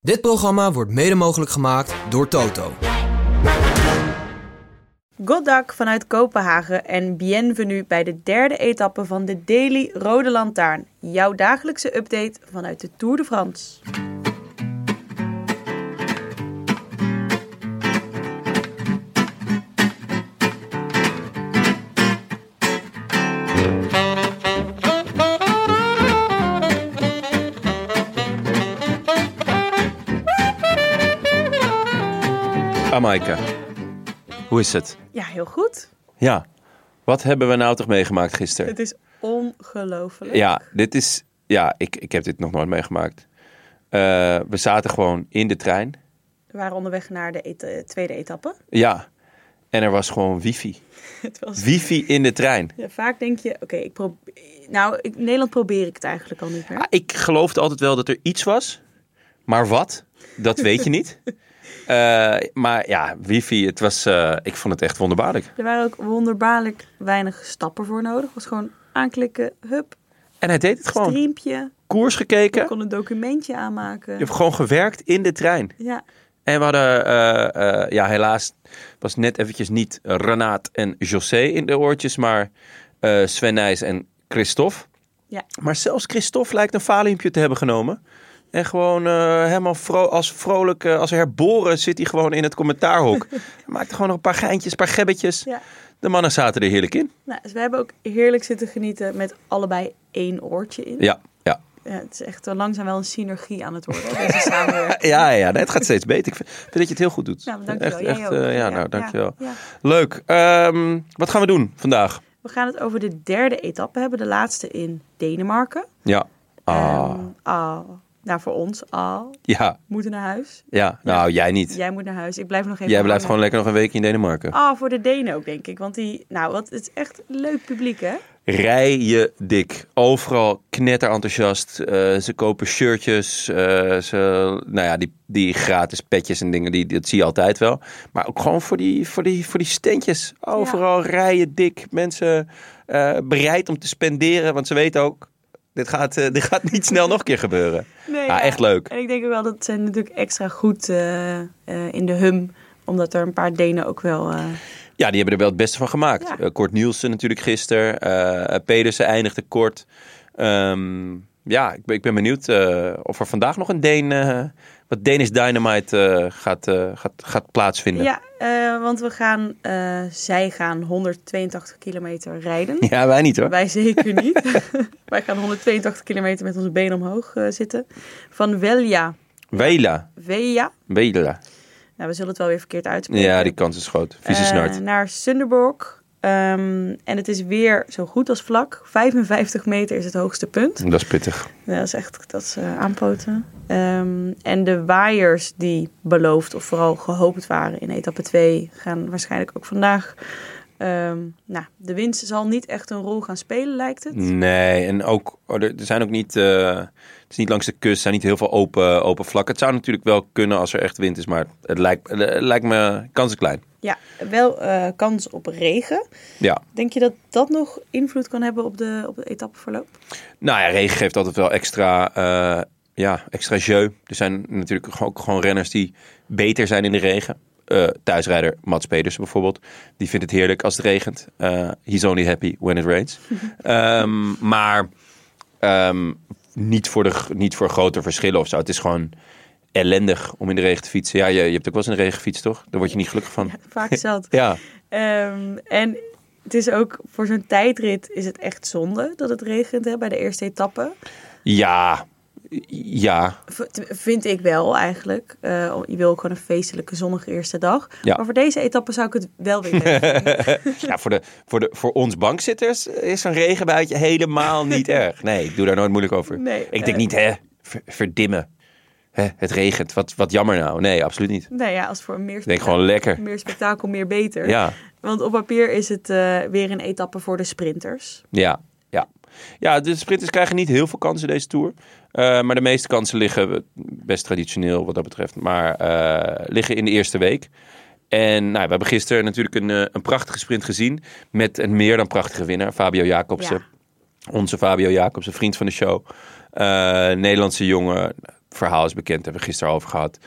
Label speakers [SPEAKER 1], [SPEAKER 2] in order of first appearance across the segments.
[SPEAKER 1] Dit programma wordt mede mogelijk gemaakt door Toto.
[SPEAKER 2] Goddag vanuit Kopenhagen en bienvenue bij de derde etappe van de Daily Rode Lantaarn. Jouw dagelijkse update vanuit de Tour de France.
[SPEAKER 3] Amaika, hoe is het?
[SPEAKER 2] Ja, heel goed.
[SPEAKER 3] Ja, wat hebben we nou toch meegemaakt gisteren?
[SPEAKER 2] Het is ongelooflijk.
[SPEAKER 3] Ja, dit is, ja ik, ik heb dit nog nooit meegemaakt. Eh, we zaten gewoon in de trein.
[SPEAKER 2] We waren onderweg naar de eta- tweede etappe.
[SPEAKER 3] Ja, en er was gewoon wifi.
[SPEAKER 2] Het was...
[SPEAKER 3] Wifi in de trein.
[SPEAKER 2] Ja, vaak denk je, oké, ik probeer... Nou, ik- in Nederland probeer ik het eigenlijk al niet meer.
[SPEAKER 3] Ah, Ik geloofde altijd wel dat er iets was, maar wat, dat weet je niet. Eh, maar ja, wifi, het was, eh, ik vond het echt wonderbaarlijk.
[SPEAKER 2] Er waren ook wonderbaarlijk weinig stappen voor nodig. Het was gewoon aanklikken, hup,
[SPEAKER 3] En hij deed het gewoon.
[SPEAKER 2] streampje.
[SPEAKER 3] Koers
[SPEAKER 2] Je
[SPEAKER 3] gekeken,
[SPEAKER 2] kon een documentje
[SPEAKER 3] je
[SPEAKER 2] aanmaken.
[SPEAKER 3] hebt gewoon gewerkt in de trein.
[SPEAKER 2] Ja,
[SPEAKER 3] En we hadden, eh, eh, ja, helaas was net eventjes niet Renaat en José in de oortjes, maar eh Sven Nijs en Christophe.
[SPEAKER 2] Ja.
[SPEAKER 3] Maar zelfs Christophe lijkt een valiumpje te hebben genomen. En gewoon eh, helemaal vro als vrolijk, eh, als herboren zit hij gewoon in het commentaarhok. hij maakte gewoon nog een paar geintjes, een paar gebbetjes.
[SPEAKER 2] ja.
[SPEAKER 3] De mannen zaten er heerlijk in.
[SPEAKER 2] Nou, dus we hebben ook heerlijk zitten genieten met allebei één oortje in.
[SPEAKER 3] Ja, ja.
[SPEAKER 2] Ja, het is echt wel langzaam wel een synergie aan het worden, deze samenwerking.
[SPEAKER 3] Ja, ja, nee, het gaat steeds beter. Ik vind, vind dat je het heel goed doet.
[SPEAKER 2] Nou, dankjewel.
[SPEAKER 3] Echt,
[SPEAKER 2] Jij
[SPEAKER 3] echt,
[SPEAKER 2] ook.
[SPEAKER 3] eh, ja, nou, dankjewel.
[SPEAKER 2] ja.
[SPEAKER 3] Leuk. Ehm, wat gaan we doen vandaag?
[SPEAKER 2] We gaan het over de derde etappe hebben, de laatste in Denemarken.
[SPEAKER 3] Ja. Ah,
[SPEAKER 2] Ehm, ah. nou, voor ons al.
[SPEAKER 3] ja.
[SPEAKER 2] moeten naar huis.
[SPEAKER 3] Ja, nou jij niet.
[SPEAKER 2] Jij moet naar huis. Ik blijf nog even
[SPEAKER 3] jij blijft
[SPEAKER 2] hangen.
[SPEAKER 3] gewoon lekker nog een weekje in Denemarken.
[SPEAKER 2] Ah, voor de Denen ook, denk ik. Want die, nou, wat, het is echt leuk publiek, hè?
[SPEAKER 3] Rij je dik. Overal knetterenthousiast. enthousiast. ze kopen shirtjes. eh, ze, nou ja, die, die gratis petjes en dingen, die, dat zie je altijd wel. Maar ook gewoon voor die, voor die, voor die standjes. Overal rij je dik. Mensen eh, bereid om te spenderen. Want ze weten ook, dit gaat, eh, dit gaat niet snel nog een keer gebeuren.
[SPEAKER 2] Nee,
[SPEAKER 3] Ja, echt leuk.
[SPEAKER 2] En ik denk ook wel dat zijn natuurlijk extra goed eh, eh, in de hum. Omdat er een paar Denen ook wel... eh,
[SPEAKER 3] Ja, die hebben er wel het beste van gemaakt.
[SPEAKER 2] Ja.
[SPEAKER 3] Eh, Kort Nielsen natuurlijk gisteren. eh Pedersen eindigde kort. Ehm, ja, ik ben, ik ben benieuwd eh, of er vandaag nog een Deen... eh, wat Danish Dynamite eh, gaat, eh, gaat, gaat plaatsvinden.
[SPEAKER 2] Ja, eh, want we gaan, eh, zij gaan 182 kilometer rijden.
[SPEAKER 3] Ja, wij niet hoor.
[SPEAKER 2] Wij zeker niet. Wij gaan 182 kilometer met onze benen omhoog eh, zitten. Van Velja,
[SPEAKER 3] Wela.
[SPEAKER 2] Veja.
[SPEAKER 3] Wela.
[SPEAKER 2] Nou, we zullen het wel weer verkeerd uitspreken.
[SPEAKER 3] Ja, die kans is groot. Vieze
[SPEAKER 2] Eh,
[SPEAKER 3] snart.
[SPEAKER 2] naar Sunderborg. Ehm, en het is weer zo goed als vlak. 55 meter is het hoogste punt.
[SPEAKER 3] Dat is pittig.
[SPEAKER 2] Ja, dat is echt dat is, eh, aanpoten. Ehm, en de waaiers die beloofd of vooral gehoopt waren in etappe 2 gaan waarschijnlijk ook vandaag. Ehm, nou, de winst zal niet echt een rol gaan spelen, lijkt het.
[SPEAKER 3] Mm. Nee, en ook, oh, er er zijn ook niet, eh, het is niet langs de kust, er zijn niet heel veel open, open vlakken. Het zou natuurlijk wel kunnen als er echt wind is, maar het lijkt, het lijkt me, kans is klein.
[SPEAKER 2] Ja, wel eh, kans op regen.
[SPEAKER 3] Ja.
[SPEAKER 2] Denk je dat dat nog invloed kan hebben op de, op de etappeverloop?
[SPEAKER 3] Nou ja, regen geeft altijd wel extra, eh, ja, extra jeu. Er zijn natuurlijk ook gewoon renners die beter zijn in de regen. Eh, thuisrijder Mats Pedersen bijvoorbeeld. Die vindt het heerlijk als het regent. Eh he's only happy when it rains. Ehm, maar ehm, niet, voor de, g- niet voor grote verschillen of zo. Het is gewoon ellendig om in de regen te fietsen. Ja, je, je hebt ook wel eens in de regen gefietst, toch? Daar word je niet gelukkig van.
[SPEAKER 2] Vaak hetzelfde.
[SPEAKER 3] Ja,
[SPEAKER 2] Ehm, en het is ook voor zo'n tijdrit is het echt zonde dat het regent hè, bij de eerste etappe.
[SPEAKER 3] ja, ja.
[SPEAKER 2] V- te- vind ik wel eigenlijk. Eh, je wil ook gewoon een feestelijke zonnige eerste dag.
[SPEAKER 3] Ja.
[SPEAKER 2] Maar voor deze etappe zou ik het wel weer leuk vinden.
[SPEAKER 3] Ja, voor, de, voor, de, voor ons bankzitters eh, is zo'n regenbuitje helemaal niet erg. Nee, ik doe daar nooit moeilijk over.
[SPEAKER 2] Nee,
[SPEAKER 3] ik denk
[SPEAKER 2] eh.
[SPEAKER 3] niet, hè, ver- verdimmen. hè, het regent, wat, wat jammer nou. Nee, absoluut niet.
[SPEAKER 2] Nou ja, als voor meer
[SPEAKER 3] Ik denk
[SPEAKER 2] spektakel,
[SPEAKER 3] gewoon lekker.
[SPEAKER 2] meer, spektakel meer beter.
[SPEAKER 3] Ja,
[SPEAKER 2] Want op papier is het eh, weer een etappe voor de sprinters.
[SPEAKER 3] ja, ja. Ja, de sprinters krijgen niet heel veel kansen deze Tour. Eh, maar de meeste kansen liggen eh, best traditioneel wat dat betreft. Maar eh, liggen in de eerste week. En nou, we hebben gisteren natuurlijk een, eh, een prachtige sprint gezien. Met een meer dan prachtige winnaar, Fabio Jacobsen. Onze Fabio Jacobsen, vriend van de show. Eh, Nederlandse jongen. Het verhaal is bekend, hebben we gisteren over gehad.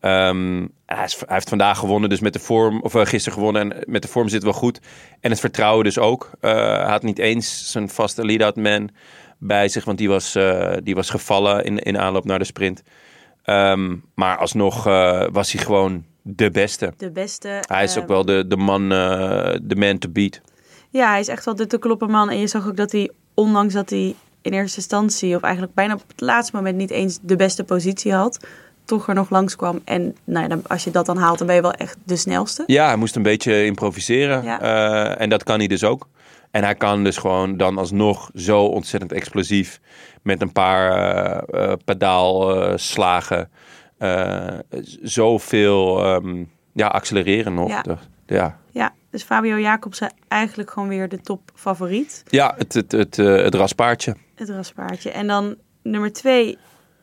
[SPEAKER 3] Ehm, hij, is- hij heeft vandaag gewonnen, dus met de vorm, of eh, gisteren gewonnen en met de vorm zit wel goed. En het vertrouwen dus ook. Eh, hij had niet eens zijn vaste lead-out man bij zich, want die was, eh, die was gevallen in, in aanloop naar de sprint. Ehm, maar alsnog eh, was hij gewoon de beste.
[SPEAKER 2] De beste.
[SPEAKER 3] Hij is
[SPEAKER 2] eh,
[SPEAKER 3] ook wel de, de man, eh, de man to beat.
[SPEAKER 2] Ja, hij is echt wel de te kloppen man. En je zag ook dat hij, ondanks dat hij in eerste instantie, of eigenlijk bijna op het laatste moment niet eens de beste positie had, toch er nog langskwam. En nou ja, dan- als je dat dan haalt, dan ben je wel echt de snelste.
[SPEAKER 3] Ja, hij moest een beetje improviseren.
[SPEAKER 2] Ja.
[SPEAKER 3] Eh, en dat kan hij dus ook. En hij kan dus gewoon dan alsnog zo ontzettend explosief met een paar eh eh, pedaalslagen eh, z- zoveel ehm, ja, accelereren nog.
[SPEAKER 2] Ja.
[SPEAKER 3] Ja, ja.
[SPEAKER 2] Ja, dus Fabio Jacobsen eigenlijk gewoon weer de topfavoriet.
[SPEAKER 3] ja het, het, het, eh, het raspaardje.
[SPEAKER 2] Het raspaardje. En dan nummer twee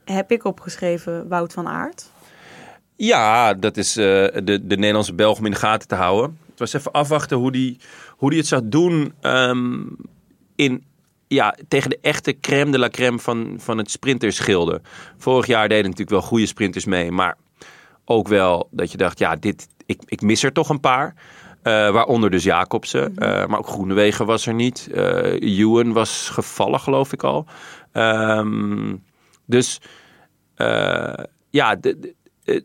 [SPEAKER 2] heb ik opgeschreven Wout van Aert.
[SPEAKER 3] Ja, dat is eh, de, de Nederlandse Belg om in de gaten te houden. Het was even afwachten hoe die, hoe die het zou doen ehm, in, ja, tegen de echte crème de la crème van, van het sprinterschilde. Vorig jaar deden natuurlijk wel goede sprinters mee, maar ook wel dat je dacht, ja, dit, ik, ik mis er toch een paar. Eh, waaronder dus Jacobsen,
[SPEAKER 2] Mhm.
[SPEAKER 3] Eh, maar ook Groenewegen was er niet. Eh Ewan was gevallen, geloof ik al. Ehm, dus eh, ja, de, de- eh,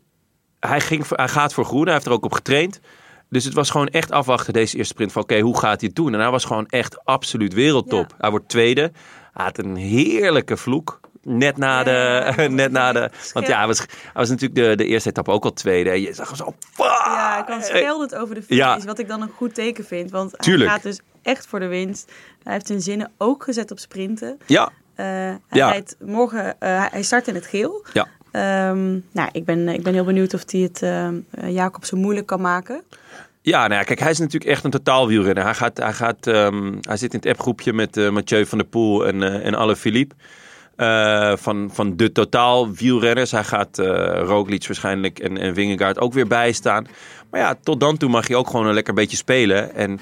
[SPEAKER 3] hij, ging, voor- hij gaat voor groen. Hij heeft er ook op getraind. Dus het was gewoon echt afwachten deze eerste sprint. Van oké, hoe gaat hij het doen? En hij was gewoon echt absoluut wereldtop.
[SPEAKER 2] Ja.
[SPEAKER 3] Hij wordt tweede. Hij had een heerlijke vloek. Net na
[SPEAKER 2] Ja,
[SPEAKER 3] de...
[SPEAKER 2] ja, ja.
[SPEAKER 3] net na de want ja,
[SPEAKER 2] Scherp.
[SPEAKER 3] hij was, hij was natuurlijk de, de eerste etappe ook al tweede. En je zag hem zo... Fuck!
[SPEAKER 2] Ja, ik kwam scheldend over de finish,
[SPEAKER 3] Ah, Ja.
[SPEAKER 2] wat ik dan een goed teken vind. Want hij
[SPEAKER 3] Tuurlijk.
[SPEAKER 2] gaat dus echt voor de winst. Hij heeft zijn zinnen ook gezet op sprinten.
[SPEAKER 3] Ja,
[SPEAKER 2] Eh, hij,
[SPEAKER 3] Ja.
[SPEAKER 2] rijdt morgen, eh, hij- hij start in het geel.
[SPEAKER 3] ja.
[SPEAKER 2] Ehm, nou, ik ben, ik ben heel benieuwd of hij het ehm, eh, Jacob zo moeilijk kan maken.
[SPEAKER 3] Ja, nou ja, kijk, hij is natuurlijk echt een totaalwielrenner. Hij, gaat, hij, gaat, ehm, hij zit in het appgroepje met eh, Mathieu van der Poel en, eh en Alle Philippe. Eh, van, van de totaalwielrenners. Hij gaat eh Roglic waarschijnlijk en, en Wingegaard ook weer bijstaan. Maar ja, tot dan toe mag je ook gewoon een lekker beetje spelen. En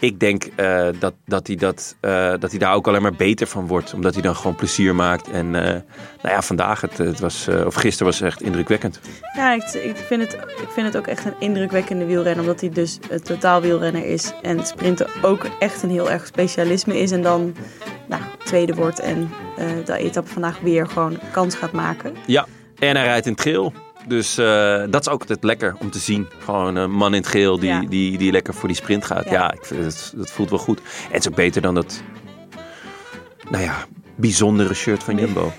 [SPEAKER 3] ik denk eh, dat, dat, hij dat, eh, dat hij daar ook alleen maar beter van wordt. Omdat hij dan gewoon plezier maakt. En eh, nou ja, vandaag, het, het was, eh, of gisteren was het echt indrukwekkend.
[SPEAKER 2] Ja, ik, ik, vind het, ik vind het ook echt een indrukwekkende wielrenner. Omdat hij dus een totaal wielrenner is. En sprinten ook echt een heel erg specialisme is. En dan nou, tweede wordt en eh de etappe vandaag weer gewoon kans gaat maken.
[SPEAKER 3] Ja, en hij rijdt in het geel. Dus eh, dat is ook altijd lekker om te zien. Gewoon een man in het geel die,
[SPEAKER 2] Ja.
[SPEAKER 3] die, die lekker voor die sprint gaat.
[SPEAKER 2] Ja.
[SPEAKER 3] Ja, ik vind het, dat voelt wel goed. En het is ook beter dan dat, nou ja, bijzondere shirt van Jumbo.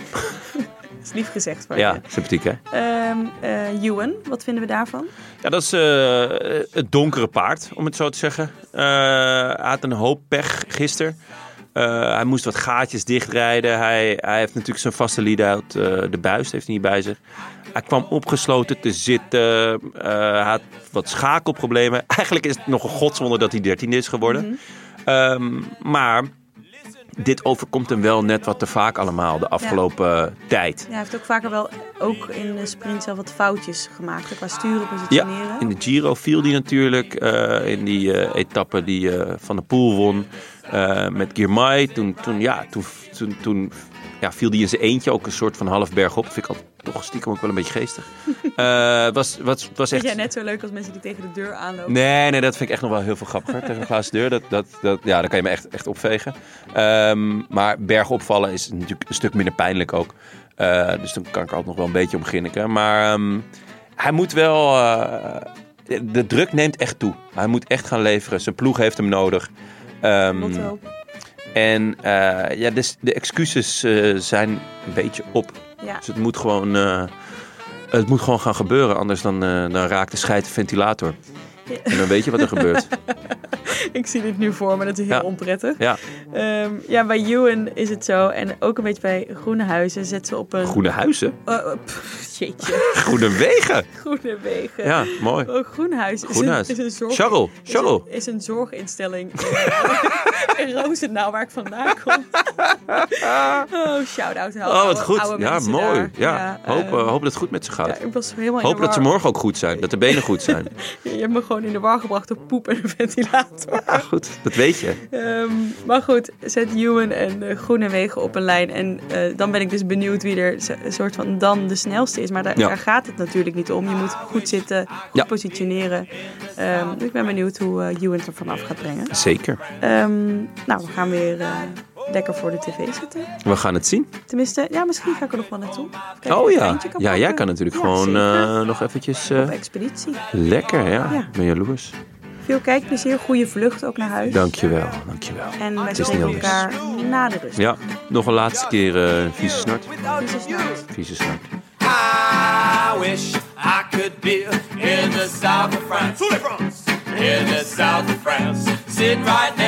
[SPEAKER 2] Dat is lief gezegd van
[SPEAKER 3] Ja,
[SPEAKER 2] je.
[SPEAKER 3] sympathiek hè?
[SPEAKER 2] Ehm eh, Ewan, wat vinden we daarvan?
[SPEAKER 3] Ja, dat is eh, het donkere paard, om het zo te zeggen. Eh, hij had een hoop pech gisteren. Eh, hij moest wat gaatjes dichtrijden. Hij, hij heeft natuurlijk zijn vaste lead-out. eh, de buis heeft hij niet bij zich. Hij kwam opgesloten te zitten. Eh, hij had wat schakelproblemen. Eigenlijk is het nog een godswonder dat hij dertiende is geworden. Ehm, maar dit overkomt hem wel net wat te vaak allemaal de afgelopen tijd.
[SPEAKER 2] Ja, hij heeft ook vaker wel, ook in de sprint zelf, wat foutjes gemaakt. Qua sturen, positioneren.
[SPEAKER 3] Ja, in de Giro viel die natuurlijk. eh, in die eh, etappe die eh, Van de Poel won eh, met Girmay. Toen, toen, ja, toen, toen, toen ja, viel die in zijn eentje ook een soort van half berg op. Vind ik al toch stiekem ook wel een beetje geestig. Eh was, was, was
[SPEAKER 2] Vind
[SPEAKER 3] echt...
[SPEAKER 2] jij net zo leuk als mensen die tegen de deur aanlopen?
[SPEAKER 3] Nee, nee, dat vind ik echt nog wel heel veel grappiger. Tegen een glazen deur, dat, dat, dat, ja, daar kan je me echt, echt opvegen. Ehm, maar berg opvallen is natuurlijk een stuk minder pijnlijk ook. Eh, dus dan kan ik er altijd nog wel een beetje om grinniken. Maar ehm, hij moet wel... eh, de- de druk neemt echt toe. Hij moet echt gaan leveren. Zijn ploeg heeft hem nodig. Ehm,
[SPEAKER 2] Lotto op.
[SPEAKER 3] en eh, ja, dus de excuses eh, zijn een beetje op.
[SPEAKER 2] Ja.
[SPEAKER 3] Dus het moet gewoon... eh, het moet gewoon gaan gebeuren, anders dan, eh, dan raakt de scheid de ventilator.
[SPEAKER 2] Ja.
[SPEAKER 3] En dan weet je wat er gebeurt.
[SPEAKER 2] Ik zie dit nu voor me, dat is heel
[SPEAKER 3] Ja.
[SPEAKER 2] onprettig.
[SPEAKER 3] Ja,
[SPEAKER 2] Ehm, ja, bij Ewan is het zo. En ook een beetje bij Groene Huizen zet ze op een...
[SPEAKER 3] groene huizen,
[SPEAKER 2] Eh, eh, pff, jeetje,
[SPEAKER 3] groene wegen.
[SPEAKER 2] Groene Wegen.
[SPEAKER 3] Ja, mooi.
[SPEAKER 2] Ook Groenhuis is,
[SPEAKER 3] Groenhuis.
[SPEAKER 2] Een, is een zorg...
[SPEAKER 3] Charles,
[SPEAKER 2] is een-
[SPEAKER 3] Charles.
[SPEAKER 2] Is een zorginstelling eh, in Roosendaal, waar ik vandaan kom. oh, shout-out.
[SPEAKER 3] Oh, wat goed.
[SPEAKER 2] Oude
[SPEAKER 3] Ja,
[SPEAKER 2] mensen
[SPEAKER 3] mooi.
[SPEAKER 2] daar.
[SPEAKER 3] Ja, hoop,
[SPEAKER 2] eh,
[SPEAKER 3] eh, hoop dat het goed met ze gaat.
[SPEAKER 2] ja, ik was helemaal in
[SPEAKER 3] Hopen
[SPEAKER 2] de
[SPEAKER 3] dat ze
[SPEAKER 2] war.
[SPEAKER 3] morgen ook goed zijn. Dat de benen goed zijn.
[SPEAKER 2] Je hebt me gewoon in de war gebracht door poep en een ventilator.
[SPEAKER 3] Ja, Ah, goed. Dat weet je.
[SPEAKER 2] Ehm, maar goed, zet Ewan en eh, Groene Wegen op een lijn. En eh, dan ben ik dus benieuwd wie er z- een soort van dan de snelste is. Maar daar,
[SPEAKER 3] Ja.
[SPEAKER 2] daar gaat het natuurlijk niet om. Je moet goed zitten, goed
[SPEAKER 3] Ja.
[SPEAKER 2] positioneren. Ehm, dus ik ben benieuwd hoe eh Ewan het er vanaf gaat brengen.
[SPEAKER 3] Zeker.
[SPEAKER 2] Ehm, nou, we gaan weer eh, lekker voor de tv zitten.
[SPEAKER 3] We gaan het zien.
[SPEAKER 2] Tenminste, ja, misschien ga ik er nog wel naartoe. Kijken of
[SPEAKER 3] Oh
[SPEAKER 2] ik een
[SPEAKER 3] ja.
[SPEAKER 2] treintje
[SPEAKER 3] Ja, jij
[SPEAKER 2] pakken.
[SPEAKER 3] kan natuurlijk
[SPEAKER 2] Ja,
[SPEAKER 3] gewoon
[SPEAKER 2] zeker.
[SPEAKER 3] eh, nog eventjes... eh,
[SPEAKER 2] Op expeditie.
[SPEAKER 3] lekker, ja.
[SPEAKER 2] Ja.
[SPEAKER 3] Ik ben jaloers.
[SPEAKER 2] Veel kijkplezier, goede vlucht ook naar huis.
[SPEAKER 3] Dankjewel, dankjewel.
[SPEAKER 2] En wij
[SPEAKER 3] Het is
[SPEAKER 2] spreken
[SPEAKER 3] niet anders.
[SPEAKER 2] elkaar na de rust.
[SPEAKER 3] Ja, nog een laatste keer eh vieze snart.
[SPEAKER 2] Vieze snart.
[SPEAKER 3] Vieze snart.
[SPEAKER 4] I wish I could be in the south of France. In the south of France. Sitting right